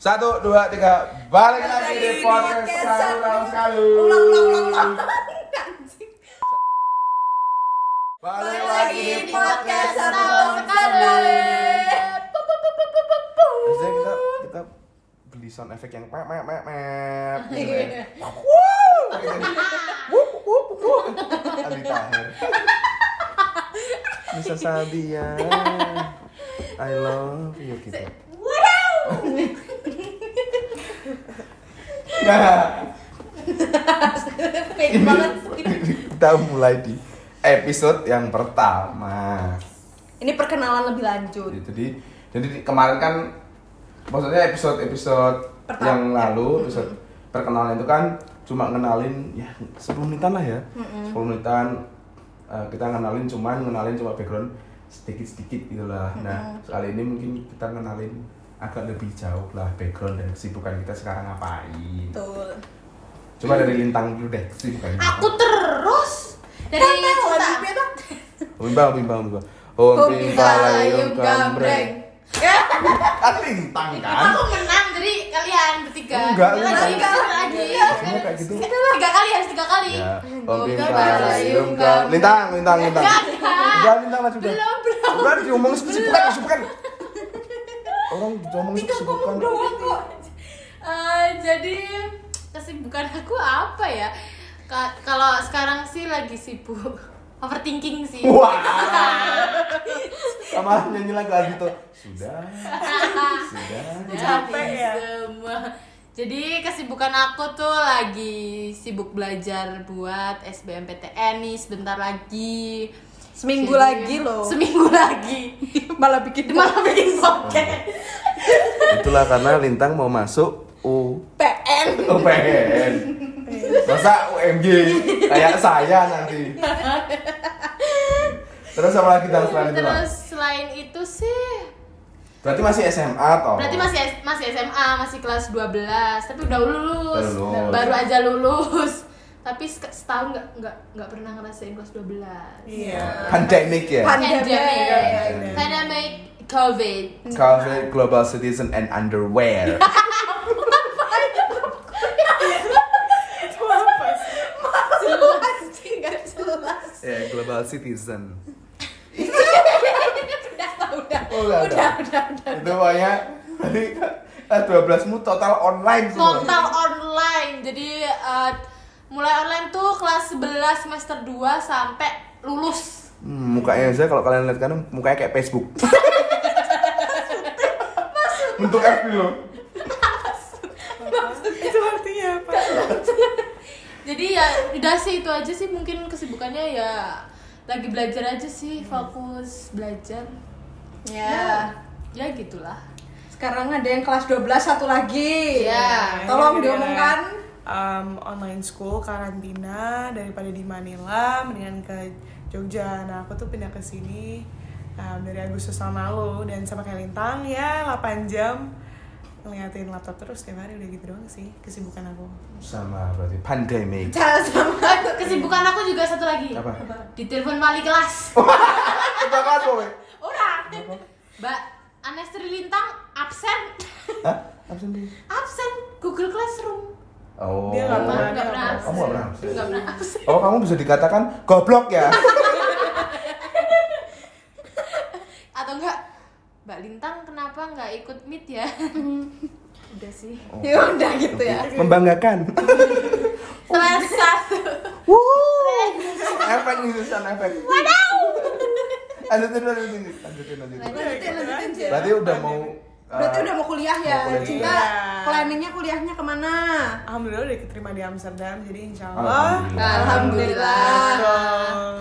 Satu, dua, tiga, balik lagi di podcast Satu, sekali ulang sekali. Ulang, ulang, ulang, ulang. Anjing. Balik lagi di podcast Satu sekali ulang Ulang sekali. Pup, pup, pup, pup, pup, pup. Biasanya kita kita beli sound effect yang mep mep mep mep. gitu ya. Iya. Wuh, gitu. Wuh, wuh, wuh. Aldi Taher. Bisa Sadia. I love you gitu. Wow. Nah, Fake banget. kita mulai di episode yang pertama. Ini perkenalan lebih lanjut. Jadi, jadi jadi di- kemarin kan maksudnya episode episode Pertama. yang lalu episode perkenalan itu kan cuma ngenalin ya 10 menitan lah ya. 10 menitan eh, kita ngenalin cuman ngenalin cuma background sedikit-sedikit gitu lah. Nah, sekali ini mungkin kita ngenalin agak lebih jauh lah background dan kesibukan kita sekarang ngapain. Tuh. Coba dari lintang dulu deh kesibukan. Aku terus dari Dari ingat cinta. cinta. Bimbang, bimbang, bimbang. Om bimbang, layung gambreng. Kan lintang kan? Aku menang jadi kalian bertiga. Enggak, Kalian enggak. lagi, kalian lagi. Semua kayak gitu. Tiga kali harus tiga kali. Ya, Gombrong, Om layung, Layung Gam. Lintang, lintang, lintang. Enggak, Udah, lintang lah sudah. Belum, belum. Udah diomong kesibukan, kesibukan. Orang diomong Tiga kesibukan. ngomong doang kok. Eh, jadi kesibukan aku apa ya? Ka- Kalau sekarang sih lagi sibuk overthinking sih. Wah. Sama nyanyi lagu Ardito. Sudah. Sudah. Capek ya? Semua. Jadi kesibukan aku tuh lagi sibuk belajar buat SBMPTN nih sebentar lagi. Seminggu Jadi- lagi loh. Iya. Seminggu lagi. Malah bikin Malah bikin podcast. Itulah karena Lintang mau masuk U PN. UPN. Masa UMG kayak saya nanti. Terus apa lagi dan selain itu? Bang? Terus selain itu sih Berarti masih SMA toh? berarti masih masih SMA, masih kelas 12, tapi udah lulus. Baru lulus. Baru aja lulus. Tapi se- setahun nggak nggak nggak pernah ngerasain kelas 12. Iya. pandemic ya. Pan- Pandemic. Pandemic. Pandemic COVID. Coffee Global Citizen and Underwear. Itu apa sih? Malu anjing, nggak jelas. ya, Global Citizen. Udah, udah. Oh, udah, Udah, udah. udah, udah. Itu pokoknya tadi kelas 12 mu total online semua. total online jadi eh, mulai online tuh kelas 11 semester 2 sampai lulus Hmm, mukanya aja kalau kalian lihat kan mukanya kayak Facebook. Bentuk FB loh. Itu artinya apa? jadi ya udah sih itu aja sih mungkin kesibukannya ya lagi belajar aja sih fokus belajar Ya. ya gitulah Sekarang ada yang kelas 12 satu lagi. Iya. Tolong Akhirnya diomongkan. um, online school karantina daripada di Manila mendingan ke Jogja nah aku tuh pindah ke sini um, dari Agustus tahun lalu dan sama kayak Lintang ya 8 jam ngeliatin laptop terus tiap hari udah gitu doang sih kesibukan aku Sama berarti pandemic. Cara sama Eh, kesibukan aku juga satu lagi Apa? Oh. ditelepon wali kelas Kita kan boy. orang mbak Anestri Lintang absen Hah? Absen dia. absen Google Classroom Oh. Dia nggak pernah. nggak pernah Kamu nggak pernah absen? nggak pernah absen Oh, kamu bisa dikatakan goblok ya. atau enggak Mbak Lintang kenapa nggak ikut meet ya? Oh. Udah sih. Ya udah gitu ya. Membanggakan. Kelas satu. Wuh. efek nih Susan efek. Waduh. Lanjutin lanjutin lanjutin lanjutin. Ya, gitu Lanjutin, lanjutin, Cil. Berarti udah mau. ya. Berarti eh, udah mau kuliah ya. mau kuliah. Cinta, Iya. planningnya kuliahnya kemana? Alhamdulillah udah keterima di Amsterdam jadi insya Allah Alhamdulillah. Alhamdulillah. Betul.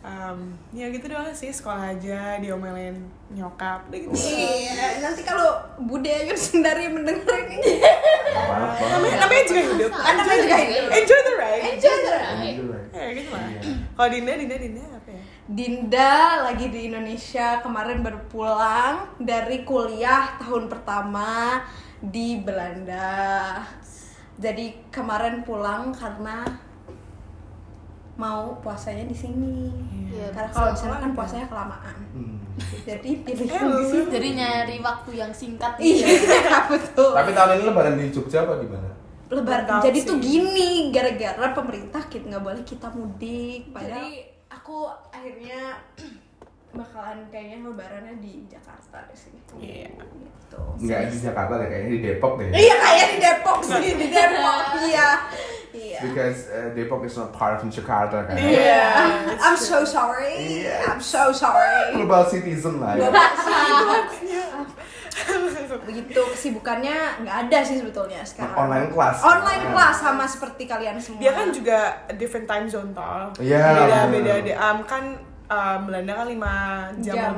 Um, ya gitu doang sih sekolah aja diomelin nyokap udah gitu Iya, nanti kalau Bude Ayun sendiri mendengar ini Apa apa. namanya, namanya juga hidup Kan namanya juga hidup. enjoy the ride Enjoy the- ya gitu lah kalau Dinda Dinda Dinda apa ya Dinda lagi di Indonesia kemarin baru pulang dari kuliah tahun pertama di Belanda. Jadi kemarin pulang karena mau puasanya di sini. Iya. Karena kalau di sana kan puasanya kelamaan. Hmm. Jadi pilih Eh, yang di lu. sini. Jadi nyari waktu yang singkat gitu. Iya, betul. Tapi tahun ini lebaran di Jogja apa gimana? Lebaran. Tahu Jadi sih. tuh gini gara-gara pemerintah kita nggak boleh kita mudik. Padahal Jadi, aku akhirnya bakalan kayaknya lebarannya di Jakarta di sini. Iya. Gitu. Enggak di Jakarta deh, kayaknya di Depok deh. Iya kayak di Depok sih, di Depok. Iya. Iya. Because uh, Depok is not part of Jakarta kan. Iya. Yeah, I'm so sorry. Yes. I'm so sorry. Global citizen lah ya. Begitu kesibukannya nggak ada sih sebetulnya sekarang. Online class. Online Nah. class sama seperti kalian semua. dia kan juga different time zone toh Iya. beda beda di um, kan um, Belanda kan lima jam, jam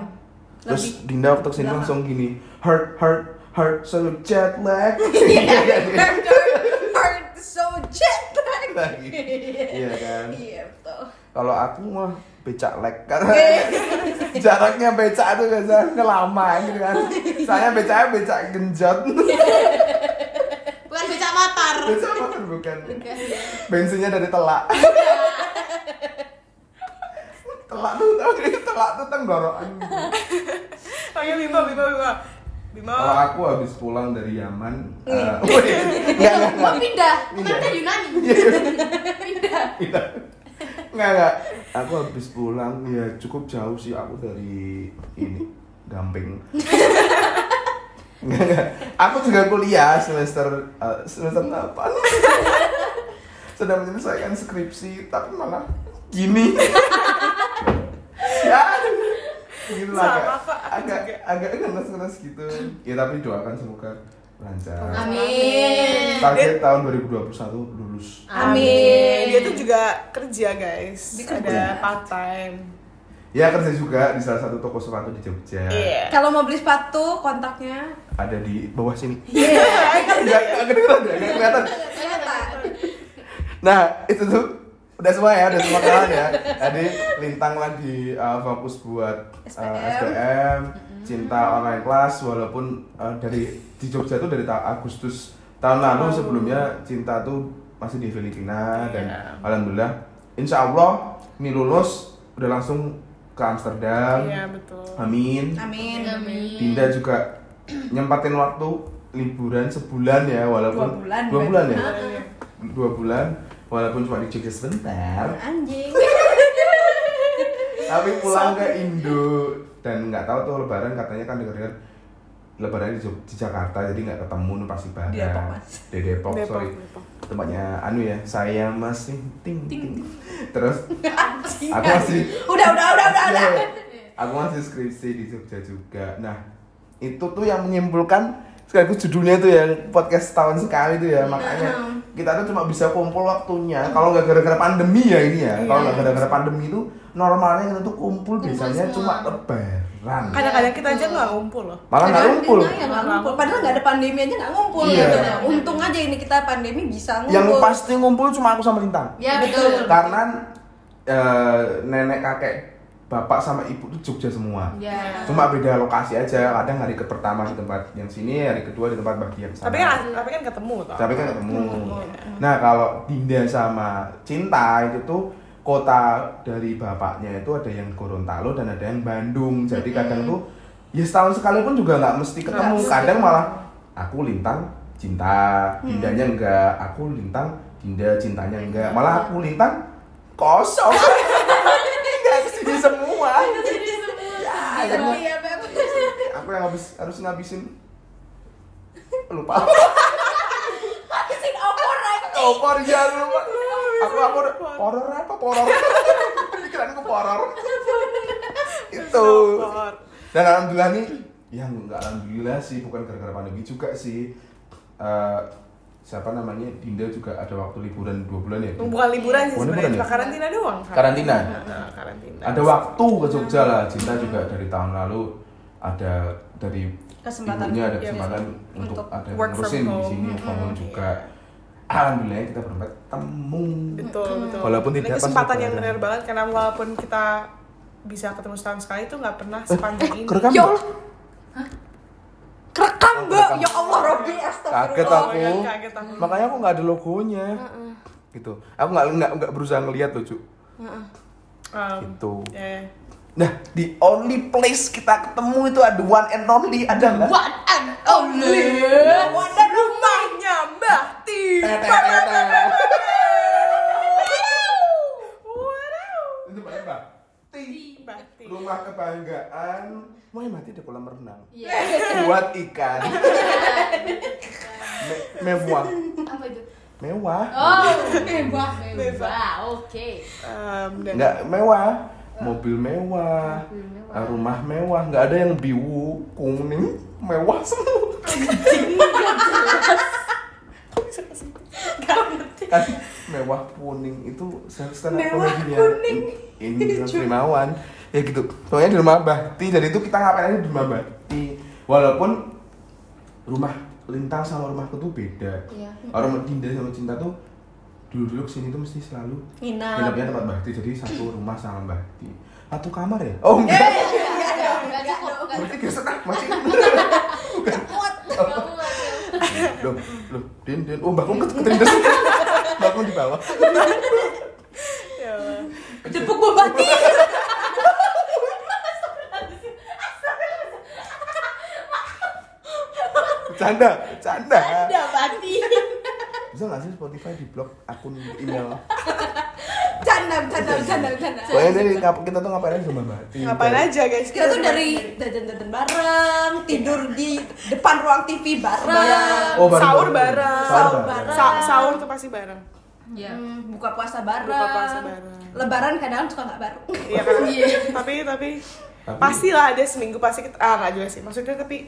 Terus lebih. Dinda waktu kesini Enggak. langsung gini, hurt, hurt, hurt, so jet lag. Iya, hurt so jet lag. Lagi. Iya kan. Iya betul. Kalau aku mah becak lag karena jaraknya becak itu biasanya lama gitu kan. Saya becaknya becak genjot. Iya. Bukan becak matar. becak apa kan bukan. Bensinnya dari telak. Iya. telak tuh tau nggak? telak tuh tenggorokan. panggil Bima Bima Bima Bima Kalau aku habis pulang dari Yaman, eh, Nih. oh iya. Nggak, nggak, nggak. Iya. Mau pindah, Iya. bukan Pindah. ke Yunani. Pindah. Nggak, nggak. Aku habis pulang ya cukup jauh sih aku dari ini Gamping. Nggak, nggak. Aku juga kuliah semester eh, semester 8 Sedang menyelesaikan skripsi tapi malah gini. ya. Gitu lah, Sama, agak, Kak. Aku agak, juga. agak ngenes-ngenes gitu. Ya tapi doakan semoga lancar. Amin. Target tahun 2021 lulus. Amin. dia tuh juga kerja guys Dia kerja. ada part time Ya kerja juga di salah satu toko sepatu di Jogja. Iya. Kalau mau beli sepatu kontaknya. Ada di bawah sini. Iya. Enggak enggak kedengeran, enggak kelihatan. Nah, itu tuh udah semua ya, udah semua kenalan ya. Jadi Lintang lagi uh, fokus buat uh, SPM. SPM, cinta online class walaupun uh, dari di Jogja tuh dari ta- Agustus tahun lalu sebelumnya cinta tuh masih di Filipina dan Oh. Iya. alhamdulillah insya Allah ini lulus udah langsung ke Amsterdam. iya betul Amin. Amin. Amin. Dinda juga nyempatin waktu liburan sebulan ya walaupun Dua bulan, dua bulan ya berarti. Iya. dua bulan walaupun cuma di Jogja sebentar Anjing. tapi pulang ke Indo dan nggak tahu tuh Lebaran katanya kan dengar Lebaran di, Jog- di Jakarta jadi nggak ketemu pasti bareng Di Depok, Mas. Di Depok, Depok, Oh, sorry Depok. tempatnya anu ya saya masih ting ting terus aku masih Udah udah udah udah udah. Iya. Aku masih skripsi di Jogja juga. Nah, itu tuh yang menyimpulkan sekaligus judulnya tuh ya podcast setahun sekali tuh ya makanya kita tuh cuma bisa kumpul waktunya kalau nggak gara-gara pandemi ya ini ya kalau nggak gara-gara pandemi itu normalnya kita tuh kumpul biasanya semua. cuma lebaran kadang-kadang kita aja nggak ngumpul loh malah nggak Padahal kumpul kita ya, yang nggak ngumpul. Padahal nggak ada pandemi aja nggak ngumpul. Iya. gitu. Untung aja ini kita pandemi bisa ngumpul. yang pasti ngumpul cuma aku sama Lintang Ya betul. karena eh, nenek kakek bapak sama ibu tuh Jogja semua Ya. cuma beda lokasi aja kadang hari ke pertama di tempat yang sini hari kedua di tempat bagi yang sama tapi kan tapi kan ketemu toh tapi kan ketemu nah kalau Dinda sama Cinta itu tuh kota dari bapaknya itu ada yang Gorontalo dan ada yang Bandung jadi kadang tuh ya setahun sekali pun juga nggak mesti ketemu mesti kadang malah aku lintang cinta Dindanya enggak aku lintang Dinda cintanya enggak malah aku lintang kosong nggak kesini semua ya, ya, Iya, iya, Beb. aku yang habis harus ngabisin lupa Habisin opor lagi. opor ya lupa aku aku udah poror apa poror pikiranku poror itu Lapor. dan alhamdulillah nih ya nggak alhamdulillah sih bukan gara-gara pandemi juga sih Eh, siapa namanya Dinda juga ada waktu liburan dua bulan ya bukan liburan sih Bukan sebenarnya liburan ya? cuma karantina doang kan? Karantina? Nah, iya. karantina ada waktu ke Jogja lah cinta juga dari tahun lalu ada dari Kesempatan. ibunya ada Iya, kesempatan untuk, Untuk ada work from ngurusin di home. sini from home juga Iya. alhamdulillah kita berempat temu betul Hmm. betul Walaupun Ini tidak pas kesempatan lebaran. yang benar banget karena walaupun kita bisa ketemu setahun sekali itu nggak Eh, pernah sepanjang ini kerekam Ya nggak? Allah. Kerekam, Mbak. Kerekam. Ya Allah, Robi. Astagfirullah. kaget aku Oh, iya, kaget aku. makanya aku nggak ada logonya gitu aku nggak nggak nggak berusaha ngelihat loh cu Um, Gitu. ya, ya. Nah, the only place kita ketemu itu ada one and only adalah One and only. Wanda rumahnya Mbah Ti. Tete, tete. Wow. Itu Mbak Eva. Ti. Mbah Ti. Rumah kebanggaan. Mau mati ada kolam renang. Iya. Buat ikan. Me- mewah. Apa itu? Mewah. Oh, mewah, mewah. Oke. Um, dan Nggak mewah. Mobil mewah. Ah. Mobil mewah. Uh, Rumah mewah. Nggak ada yang biru, kuning, mewah semua. kan mewah kuning itu stand up Mewah komedinya kuning. In- Iya, Indra Primawan ya gitu pokoknya di rumah Bakti dan itu kita ngapain aja di rumah Bakti walaupun rumah Lintang sama rumahku tuh beda Iya. orang Dinda sama Cinta tuh dulu-dulu kesini tuh mesti selalu Nginap. nginepnya tempat Bakti jadi satu rumah sama Bakti satu kamar ya oh Eh. enggak Iya, Enggak cukup, enggak berarti gesek ah masih cukup. loh loh Din Din oh bangun keterindas bangun di bawah ya Allah. Jepuk gue mati. canda canda Udah mati. bisa nggak sih Spotify di blok akun email Canda, canda, canda, canda. pokoknya dari ya, ngap- kita tuh ngapain aja sama Mbak Tin. Ngapain aja guys? Kita tuh dari jajan-jajan bareng, tidur di depan ruang TV Iya. bareng, Oh, bareng, sahur bareng. bareng. Sahur bareng. Sa- sahur tuh pasti bareng. Iya. Hmm, buka puasa bareng. Buka puasa bareng. Lebaran kadang suka nggak bareng. Iya kan? Iya. tapi tapi Tapi- pastilah ada seminggu pasti kita ah nggak juga sih. Maksudnya tapi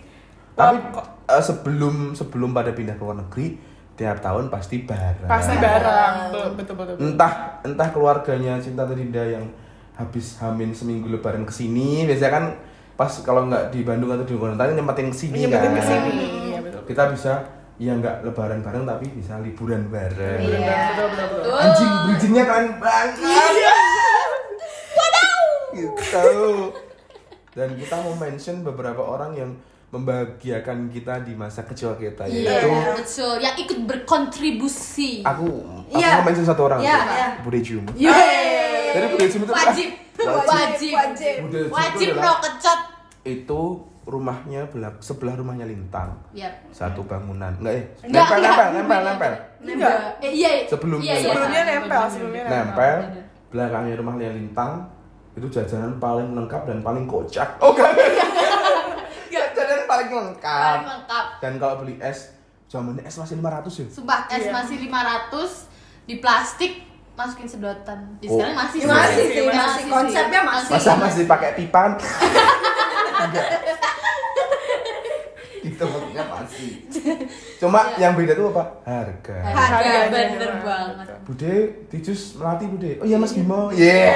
tapi Wah, kok- eh, sebelum sebelum pada pindah ke luar negeri tiap tahun pasti bareng Hmm, pasti bareng. Betul betul. betul. entah entah keluarganya Cinta atau Dinda yang habis hamin seminggu lebaran kesini biasanya kan pas kalau nggak di Bandung atau di Kalimantan nyempetin kesini kan Nyempetin ke sini. Iya betul. kita bisa ya nggak lebaran bareng tapi bisa liburan bareng Iya. Betul betul betul. anjing bridgingnya keren banget iya gitu dan kita mau mention beberapa orang yang membahagiakan kita di masa kecil kita Iya, yaitu betul. Yang ikut berkontribusi. aku aku Iya. mau mention satu orang Iya, Bu. iya. Bude Jum Yeay. Jadi Bude Jum itu Wajib. Wajib. Wajib. Wajib. Bude Jum itu Wajib no adalah- kecot. ya, itu rumahnya belak sebelah rumahnya Lintang Yap. satu bangunan enggak ya Enggak, nempel enggak. nempel nempel nempel Nempel. Eh, iya. iya. Sebelumnya. Iya, iya, Sebelumnya sama. nempel, Bener, sebelumnya bener. nempel belakangnya rumahnya Lintang itu jajanan paling lengkap dan paling kocak oh enggak jajanan paling lengkap Paling lengkap. dan kalau beli es zamannya es masih 500 ya Sumpah es Iya. masih 500 di plastik masukin sedotan. Di Oh. sekarang Iya, masih Ya, masih sih, masih. sih. Konsepnya masih. masa masih pakai pipan enggak ditemukannya pasti cuma yang beda tuh apa Iya. harga Harga Harganya bener emang. banget. Bude di jus melati Bude oh iya Mas Bimo yeah.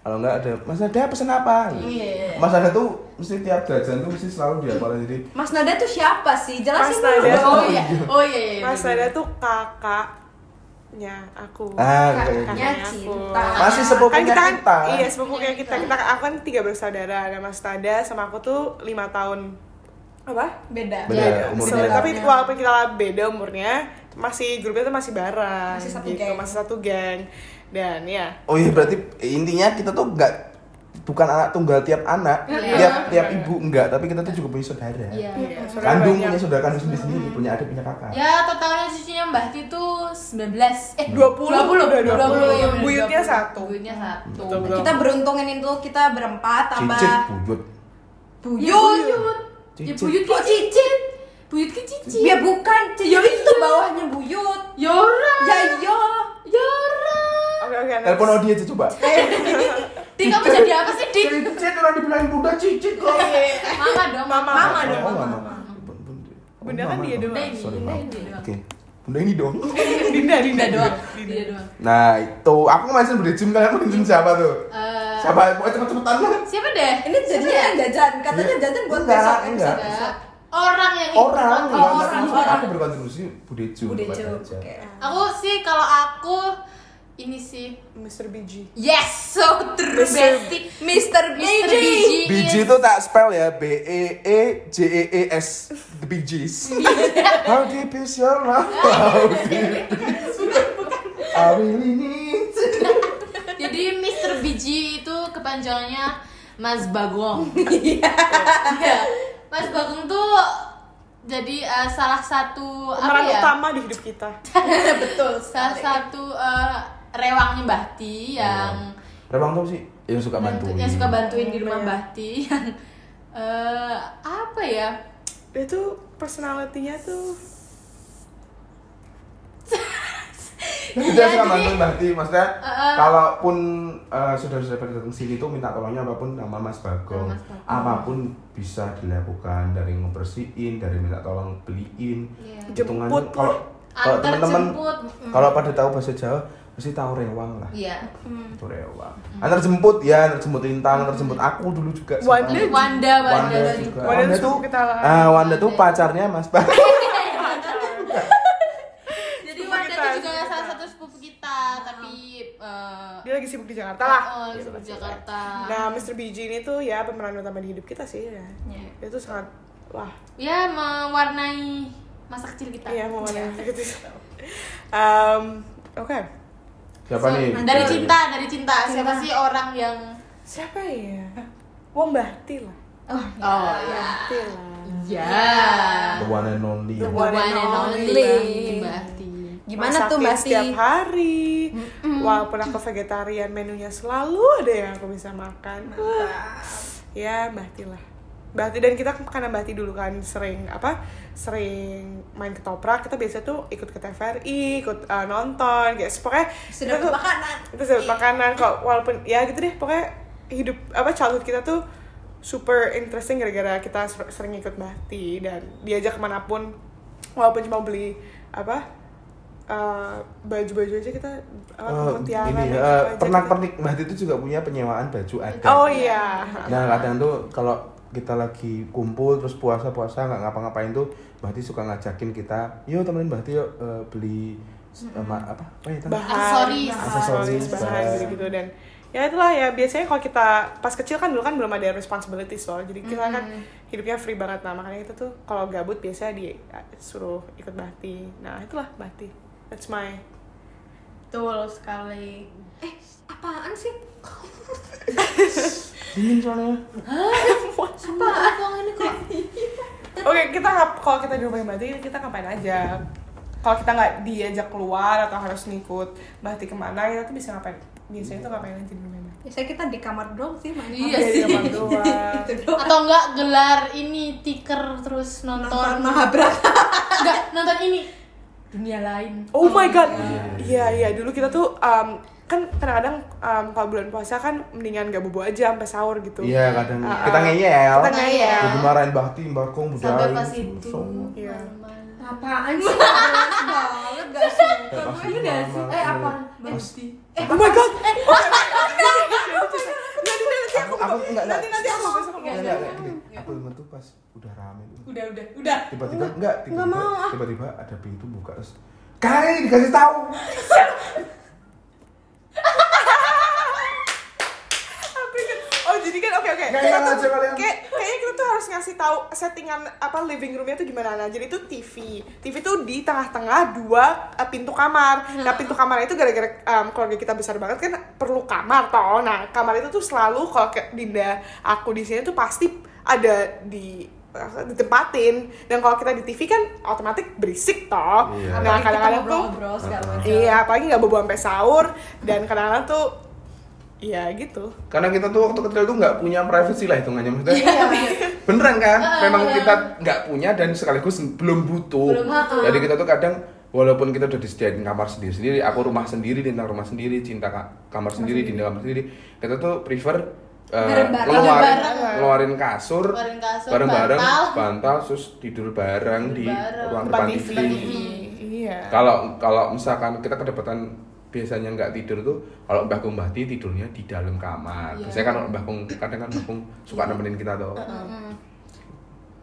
kalau enggak ada Mas Nada pesen apa Iya. Mas Nada tuh mesti tiap jajan tuh mesti selalu diapalin jadi Mas Nada tuh siapa sih? Jelasin Mas Nada. dulu. Oh iya. Oh iya. iya, Mas bener. Nada tuh kakaknya aku. Ah, Kakaknya Kakaknya aku. cinta. Masih sepupunya kan kita, kan- kita. iya sepupu kayak kita kita aku kan tiga bersaudara ada Mas Nada sama aku tuh lima tahun apa Beda. Beda, Beda. umurnya. Sel- beda. tapi walaupun kita beda umurnya masih grupnya tuh masih bareng Masih satu gitu, geng. masih satu geng dan ya Oh iya berarti intinya kita tuh enggak bukan anak tunggal tiap anak, Iya. tiap tiap ibu enggak, tapi kita tuh juga punya saudara. Iya. ya, saudara Kandung banyak. punya saudara kandung sendiri sendiri, punya adik punya kakak. Iya, Ya, totalnya cucunya Mbah Ti itu 19 eh Hmm. 20, 20, udah 20, ya, 20. Buyutnya 20. satu. Buyutnya satu. Betul, betul. Kita beruntungin itu kita berempat tambah Cicit bujut. Ya, Buyut. Iya. buyut. Ya Cicit. buyut Kok ke cicit. cicit? Buyut ke cicit. Ya bukan, cicit itu bawahnya buyut. Yora. Ya yo. Yora. oke oke next. Telepon Odi aja coba. Iya. Di kamu jadi apa sih, Dik? Cicit orang dibilangin bunda cicit kok. Iya. Mama dong, Mama. Mama Oh, dong. mama. Bun- bun- Bunda oh, kan mama dia dong. doang. Sorry, Bunda maaf. ini doang. Oke. Bunda ini dong. Dinda Dinda Dia Iya doang. Dinda. Dia doang. Nah, itu aku masih beri gym kalian mau gym siapa tuh? Eh, Siapa? Pokoknya cepet-cepetan lah. siapa deh? Ini ya? jadinya yang jajan, katanya Iya. jajan buat Enggak, besok enggak. episode besok. Orang yang ikut Orang, Iya. enggak, nonton. Oh, enggak, orang, maksudnya orang. aku berkontribusi budejo. Bude bukan Jo. aja. Oke. Aku sih kalau aku ini sih Mr. BG Yes, so true, bestie. Mr. Mr. Biji. BG is- Biji itu tak spell ya B E E J E E S The Bee Gees. How deep is your love? How deep is I really need you. Jadi Biji itu kepanjangannya Mas Bagong. Iya. Mas Bagong tuh jadi eh, salah satu apa pemeran ya? utama di hidup kita betul Salah sekali. satu eh, rewangnya Mbah Ti yang Rebang tuh sih yang Iya. suka bantuin. yang suka bantuin di rumah Iya. Mbah Ti yang eh, apa ya? dia tuh personalitinya tuh Dia Iya, suka jadi- bantuin berarti maksudnya Heeh. kalaupun eh, saudara-saudara pada datang sini tuh minta tolongnya apapun sama Mas Bagong. Sama Mas Bagong. Apapun bisa dilakukan dari ngebersihin, dari minta tolong beliin. Iya. Hitungannya Jemput kalau lah. kalau Antar teman-teman jemput. kalau pada tahu bahasa Jawa pasti tahu rewang lah. Iya. Itu rewang. Antar jemput ya, antar jemput Lintang, antar jemput aku dulu juga. Wanda sempat. Wanda, Wanda. Wanda juga. Wanda Wanda tuh tuh kita lah. ah, Wanda tuh pacarnya Mas Bagong. Jadi Sepupu Wanda kita, itu juga sepupu salah kita. satu sepupu kita, tapi eh, dia lagi sibuk di Jakarta lah Oh, di Sepupu Jakarta. nah Mr. Biji ini tuh ya pemeran utama di hidup kita sih ya dia tuh sangat wah Ya mewarnai masa kecil kita. iya mau mana gitu um, oke Siapa So, nih? Iya, Dari cinta, dari cinta. Siapa sih orang yang siapa ya Wombahti lah Oh ya. Ti lah iya. Ya. The one and only. The One and only. only. Berarti. Gimana Masakin tuh Mbak Ti? setiap hari walaupun aku vegetarian menunya selalu ada yang aku bisa makan Wah, ya Mbak Ti lah Mbak Ti dan kita karena Mbak Ti dulu kan sering apa sering main ketoprak kita biasa tuh ikut ke TVRI ikut eh, nonton kayak pokoknya Sudah kita tuh- makanan. Iya. kita sebut makanan kok walaupun ya gitu deh pokoknya hidup apa childhood kita tuh super interesting gara-gara kita ser- sering ikut Bahti dan diajak kemanapun walaupun cuma beli apa eh, baju-baju aja kita apa Eh, uh, tiara ini make up eh, aja gitu. pernak-pernik Mbak itu juga punya penyewaan baju adat. oh iya Nah kadang tuh kalau kita lagi kumpul terus puasa puasa nggak ngapa-ngapain tuh Mbak Ti suka ngajakin kita, yuk temenin Mbak Ti yuk eh, beli eh, ma- apa? Apa ya? Tan? bahan Aksesoris. Aksesoris, bahan bahan. gitu, dan ya itulah ya biasanya kalau kita pas kecil kan dulu kan belum ada responsibilities loh jadi kita kan Mm-hmm. hidupnya free banget nah makanya itu tuh kalau gabut biasanya disuruh ikut bakti nah itulah bakti that's my Betul sekali. Eh, apaan sih? Dingin soalnya. Sumpah uang ini kok. oke kita ngap kalau kita di rumah bakti kita ngapain aja kalau kita nggak diajak keluar atau harus ngikut bakti kemana kita tuh bisa ngapain biasanya tuh ngapain aja di rumah bakti Biasanya Ya, kita di kamar doang sih main Iya Jadi sih. kamar doang. Itu doang. Atau enggak gelar ini tiker terus Nonton nonton Mahabharata. enggak nonton ini dunia lain. Oh my god. Iya iya dulu kita tuh um, kan kadang-kadang um, kalau bulan puasa kan mendingan gak bobo aja sampai sahur gitu. Iya kadang Ah, kita ah. ngeyel. Kita iya. ngeyel. Jadi marahin Mbak Ti, Mbak Kong, ya? gitu. Sampai budain, pas itu. sungsung. Iya. malam-malam. Apaan sih? Apaan banget gak suka Kayak pas gue itu gak mama suka. Eh, tuh. apa? Pasti. Oh my god. Aku aku enggak enggak. Nanti nanti aku besok ngomong. Enggak, enggak, gini. Aku ingat tuh pas udah rame tuh. Iya, Udah udah udah. tiba-tiba enggak tiba-tiba enggak mau, ah. tiba-tiba ada pintu buka terus kali dikasih tahu Aku ingat. Oh jadi kan oke oke. Ngeyel Kita tuh- aja kalian. kayak kayaknya kita tuh harus ngasih tahu settingan apa living roomnya tuh gimana. Nah jadi tuh TV. TV tuh di tengah-tengah dua eh, pintu Hmm. kamar. Nah pintu kamar itu gara-gara em, keluarga kita besar banget kan perlu kamar toh. Nah kamar itu tuh selalu kalau ke Dinda aku di sini tuh pasti ada di eh, ditempatin dan kalau kita di TV kan otomatis berisik toh. Iya. Nah Apalagi kita kadang-kadang tuh ngobrol-ngobrol segala macam. Iya, apalagi nggak bobo sampai sahur dan kadang-kadang tuh ya gitu. karena kita tuh waktu kecil tuh nggak punya privasi lah hitungannya maksudnya Iya, beneran kan memang kita nggak punya dan sekaligus belum butuh Belum butuh. jadi kita tuh kadang walaupun kita udah disediain kamar sendiri sendiri aku rumah sendiri tentang rumah sendiri cinta ka- kamar sendiri di kamar sendiri kita tuh prefer eh, Bareng-bareng. ngeluarin Bareng-bareng. ngeluarin kasur, Ngeluarin kasur, bareng-bareng bantal. terus tidur bareng di bareng. ruang Depan depan TV. TV. Iya. kalau kalau misalkan kita kedapatan biasanya nggak tidur tuh kalau Mbah Kung Mbah Ti tidurnya di dalam kamar. Iya. Biasanya kan kalau Mbah Kung kadang kan Mbah Kung suka Iya. nemenin kita tuh.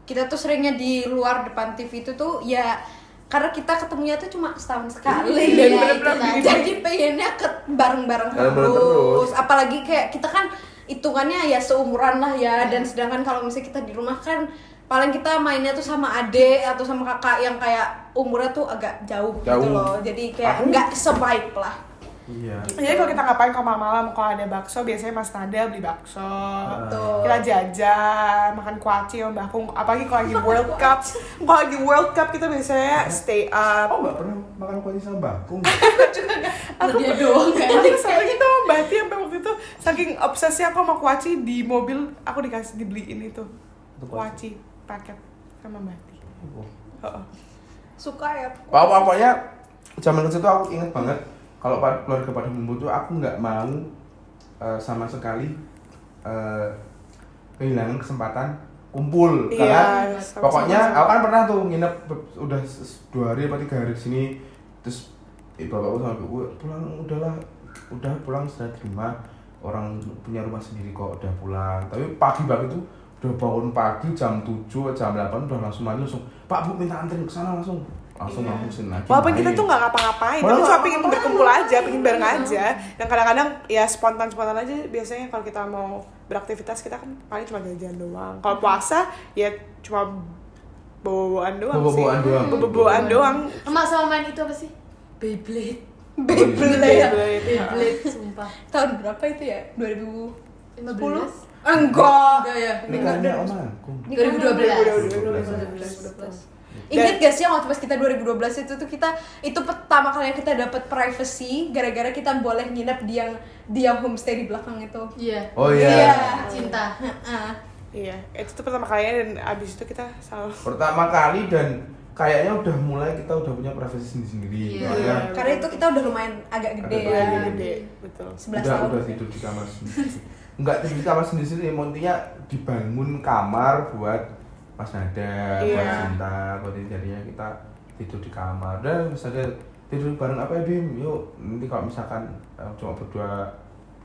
kita tuh seringnya di luar depan TV itu tuh ya karena kita ketemunya tuh cuma setahun sekali Dan ya, Iya, bener-bener gitu. bikin- jadi pengennya ke bareng-bareng Bareng-bareng terus. terus. apalagi kayak kita kan hitungannya ya seumuran lah ya Iya. dan sedangkan kalau misalnya kita di rumah kan paling kita mainnya tuh sama adik atau sama kakak yang kayak umurnya tuh agak jauh, gitu Jauh. loh jadi kayak Aku- nggak sebaik lah Iya. Jadi kalau kita ngapain kalau malam-malam kalau ada bakso biasanya Mas Nada beli bakso. Betul. Kita jajan, makan kuaci sama Mbak Kung. Apalagi kalau lagi World Cup. Kalau lagi World Cup kita biasanya stay up. Oh, nggak pernah makan kuaci sama bakung. Aku dia doang kan. Aku sampai kita sama Mbak Ti sampai waktu itu saking obsesnya aku sama kuaci di mobil aku dikasih dibeliin itu Itu kuaci. kuaci paket sama Mbak Ti. Oh, oh. Suka ya. Wah, pokoknya zaman kecil tuh aku inget banget kalau pa- keluarga pada kumpul tuh aku nggak mau eh, sama sekali eh, kehilangan kesempatan kumpul Iya, karena sama-sama. pokoknya aku kan pernah tuh nginep be- udah se- se- dua hari apa tiga hari di sini terus eh, bapakku sama ibuku pulang udahlah udah pulang sudah terima orang punya rumah sendiri kok udah pulang tapi pagi banget itu udah bangun pagi jam 7 jam 8 udah langsung mandi langsung pak bu minta anterin ke sana langsung langsung Iya. langsung sini lagi Walaupun main. kita tuh nggak ngapa-ngapain, Walaupun tapi cuma nggak pengen ngapa-ngapain. berkumpul aja, pengen bareng aja. Dan kadang-kadang ya spontan-spontan aja. Biasanya kalau kita mau beraktivitas kita kan paling cuma jajan doang. Kalau puasa ya cuma boboan doang sih. Bobo-boboan doang. Bobo-boboan doang. Emak sama main itu apa sih? Beyblade. Beyblade. Beyblade. Beyblade sumpah. ya. Tahun berapa itu ya? 2010? 15. Enggak. Enggak ya. nikahnya om aku Nikahnya 2012. 2012. 2012. Ingat gak sih yang waktu pas kita 2012 itu tuh kita itu pertama kali kita dapat privacy gara-gara kita boleh nginep di yang di yang homestay di belakang itu. Iya. oh iya Iya. Cinta. Heeh. Iya, itu tuh pertama kalinya dan abis itu kita selalu pertama kali dan kayaknya udah mulai kita udah punya profesi sendiri-sendiri Iya. Makanya Karena itu kita udah lumayan agak gede Agak ya. Iya, gede, betul. 11 udah tahun. udah tidur di kamar sendiri nggak tidur di kamar sendiri sendiri intinya dibangun kamar buat Mas Nada buat Iya. Cinta buat ini jadinya kita tidur di kamar dan Mas Nada tidur bareng apa ya Bim yuk nanti kalau misalkan eh, cuma berdua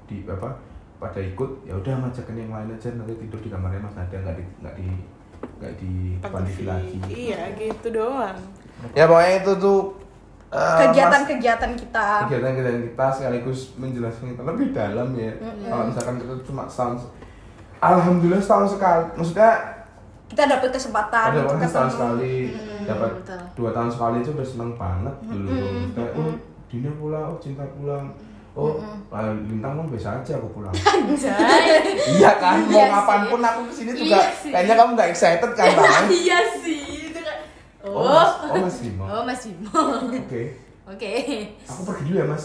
di apa pada ikut ya udah ngajakin yang lain aja nanti tidur di kamarnya Mas Nada nggak di nggak di nggak di Depan pandiki lagi Iya, gitu doang. ya pokoknya itu tuh eh, Mas- Ah, Kegiatan-kegiatan kita. kegiatan-kegiatan kita sekaligus menjelaskan kita lebih dalam ya kalau misalkan kita cuma setahun alhamdulillah setahun sekali maksudnya Kita dapat kesempatan ada untuk orang setahun ketemu. sekali dapat betul. dua tahun sekali itu udah seneng banget dulu Maksudnya, oh Dina pulang oh cinta pulang oh ah, lintang kan biasa aja aku pulang Anjay. iya kan mau Iya kapan sih. pun aku kesini juga Iya sih. kayaknya kamu nggak excited kan bang Iya sih. Itu kan. oh mas Oh. oh mas Bimo Oh, Mas Bimo. oke Oke. aku pergi dulu ya mas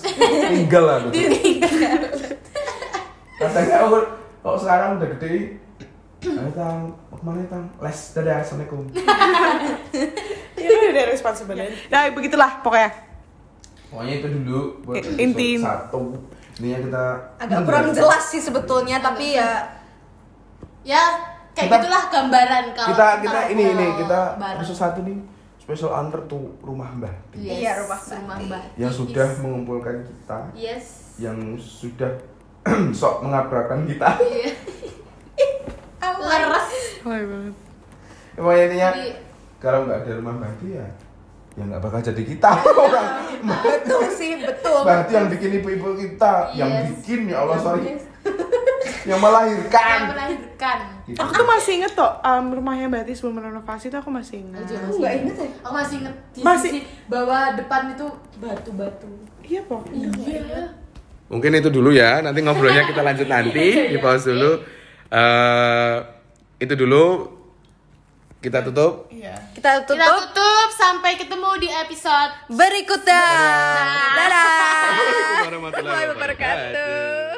tinggal lah aku tuh. katanya aku kalau sekarang udah gede ayo tang mau kemana tang les dadah assalamualaikum Iya, kan udah responsibility. Nah, begitulah pokoknya. pokoknya itu dulu buat I- inti- episode satu intinya kita Agak kurang jelas sih sebetulnya tapi ya Ya, kayak Kita- gitulah gambaran kalau kita kita tentang ini ini kalau kita bareng. episode satu nih special under tuh rumah mbah Ti, Yes, Iya, rumah rumah Mbak. Mbak. yang Is. Ya sudah mengumpulkan kita Yes. yang sudah sok mengabarkan kita Iya. Awal. Oh, Leres. banget. pokoknya intinya Jadi, kalau nggak ada rumah mbah Ti ya ya nggak bakal jadi kita orang Mbah betul sih, betul. Berarti yang bikin ibu-ibu kita, yang Yes. bikin ya Allah sorry, Kan. Yes. yang Yang melahirkan. melahirkan. Gitu. Aku tuh masih inget tuh em, rumahnya Mbak Ti sebelum renovasi tuh aku masih inget. Aduh, Aku nggak inget ya. Aku masih inget di Masih- sisi bawah depan itu batu-batu. Iya, pokoknya. Iya. Mungkin itu dulu ya, nanti ngobrolnya kita lanjut nanti, di pause dulu. Eh, itu dulu kita tutup. Iya. Kita Kita tutup tutup sampai ketemu di episode berikutnya. Dadah. Assalamualaikum warahmatullahi wabarakatuh.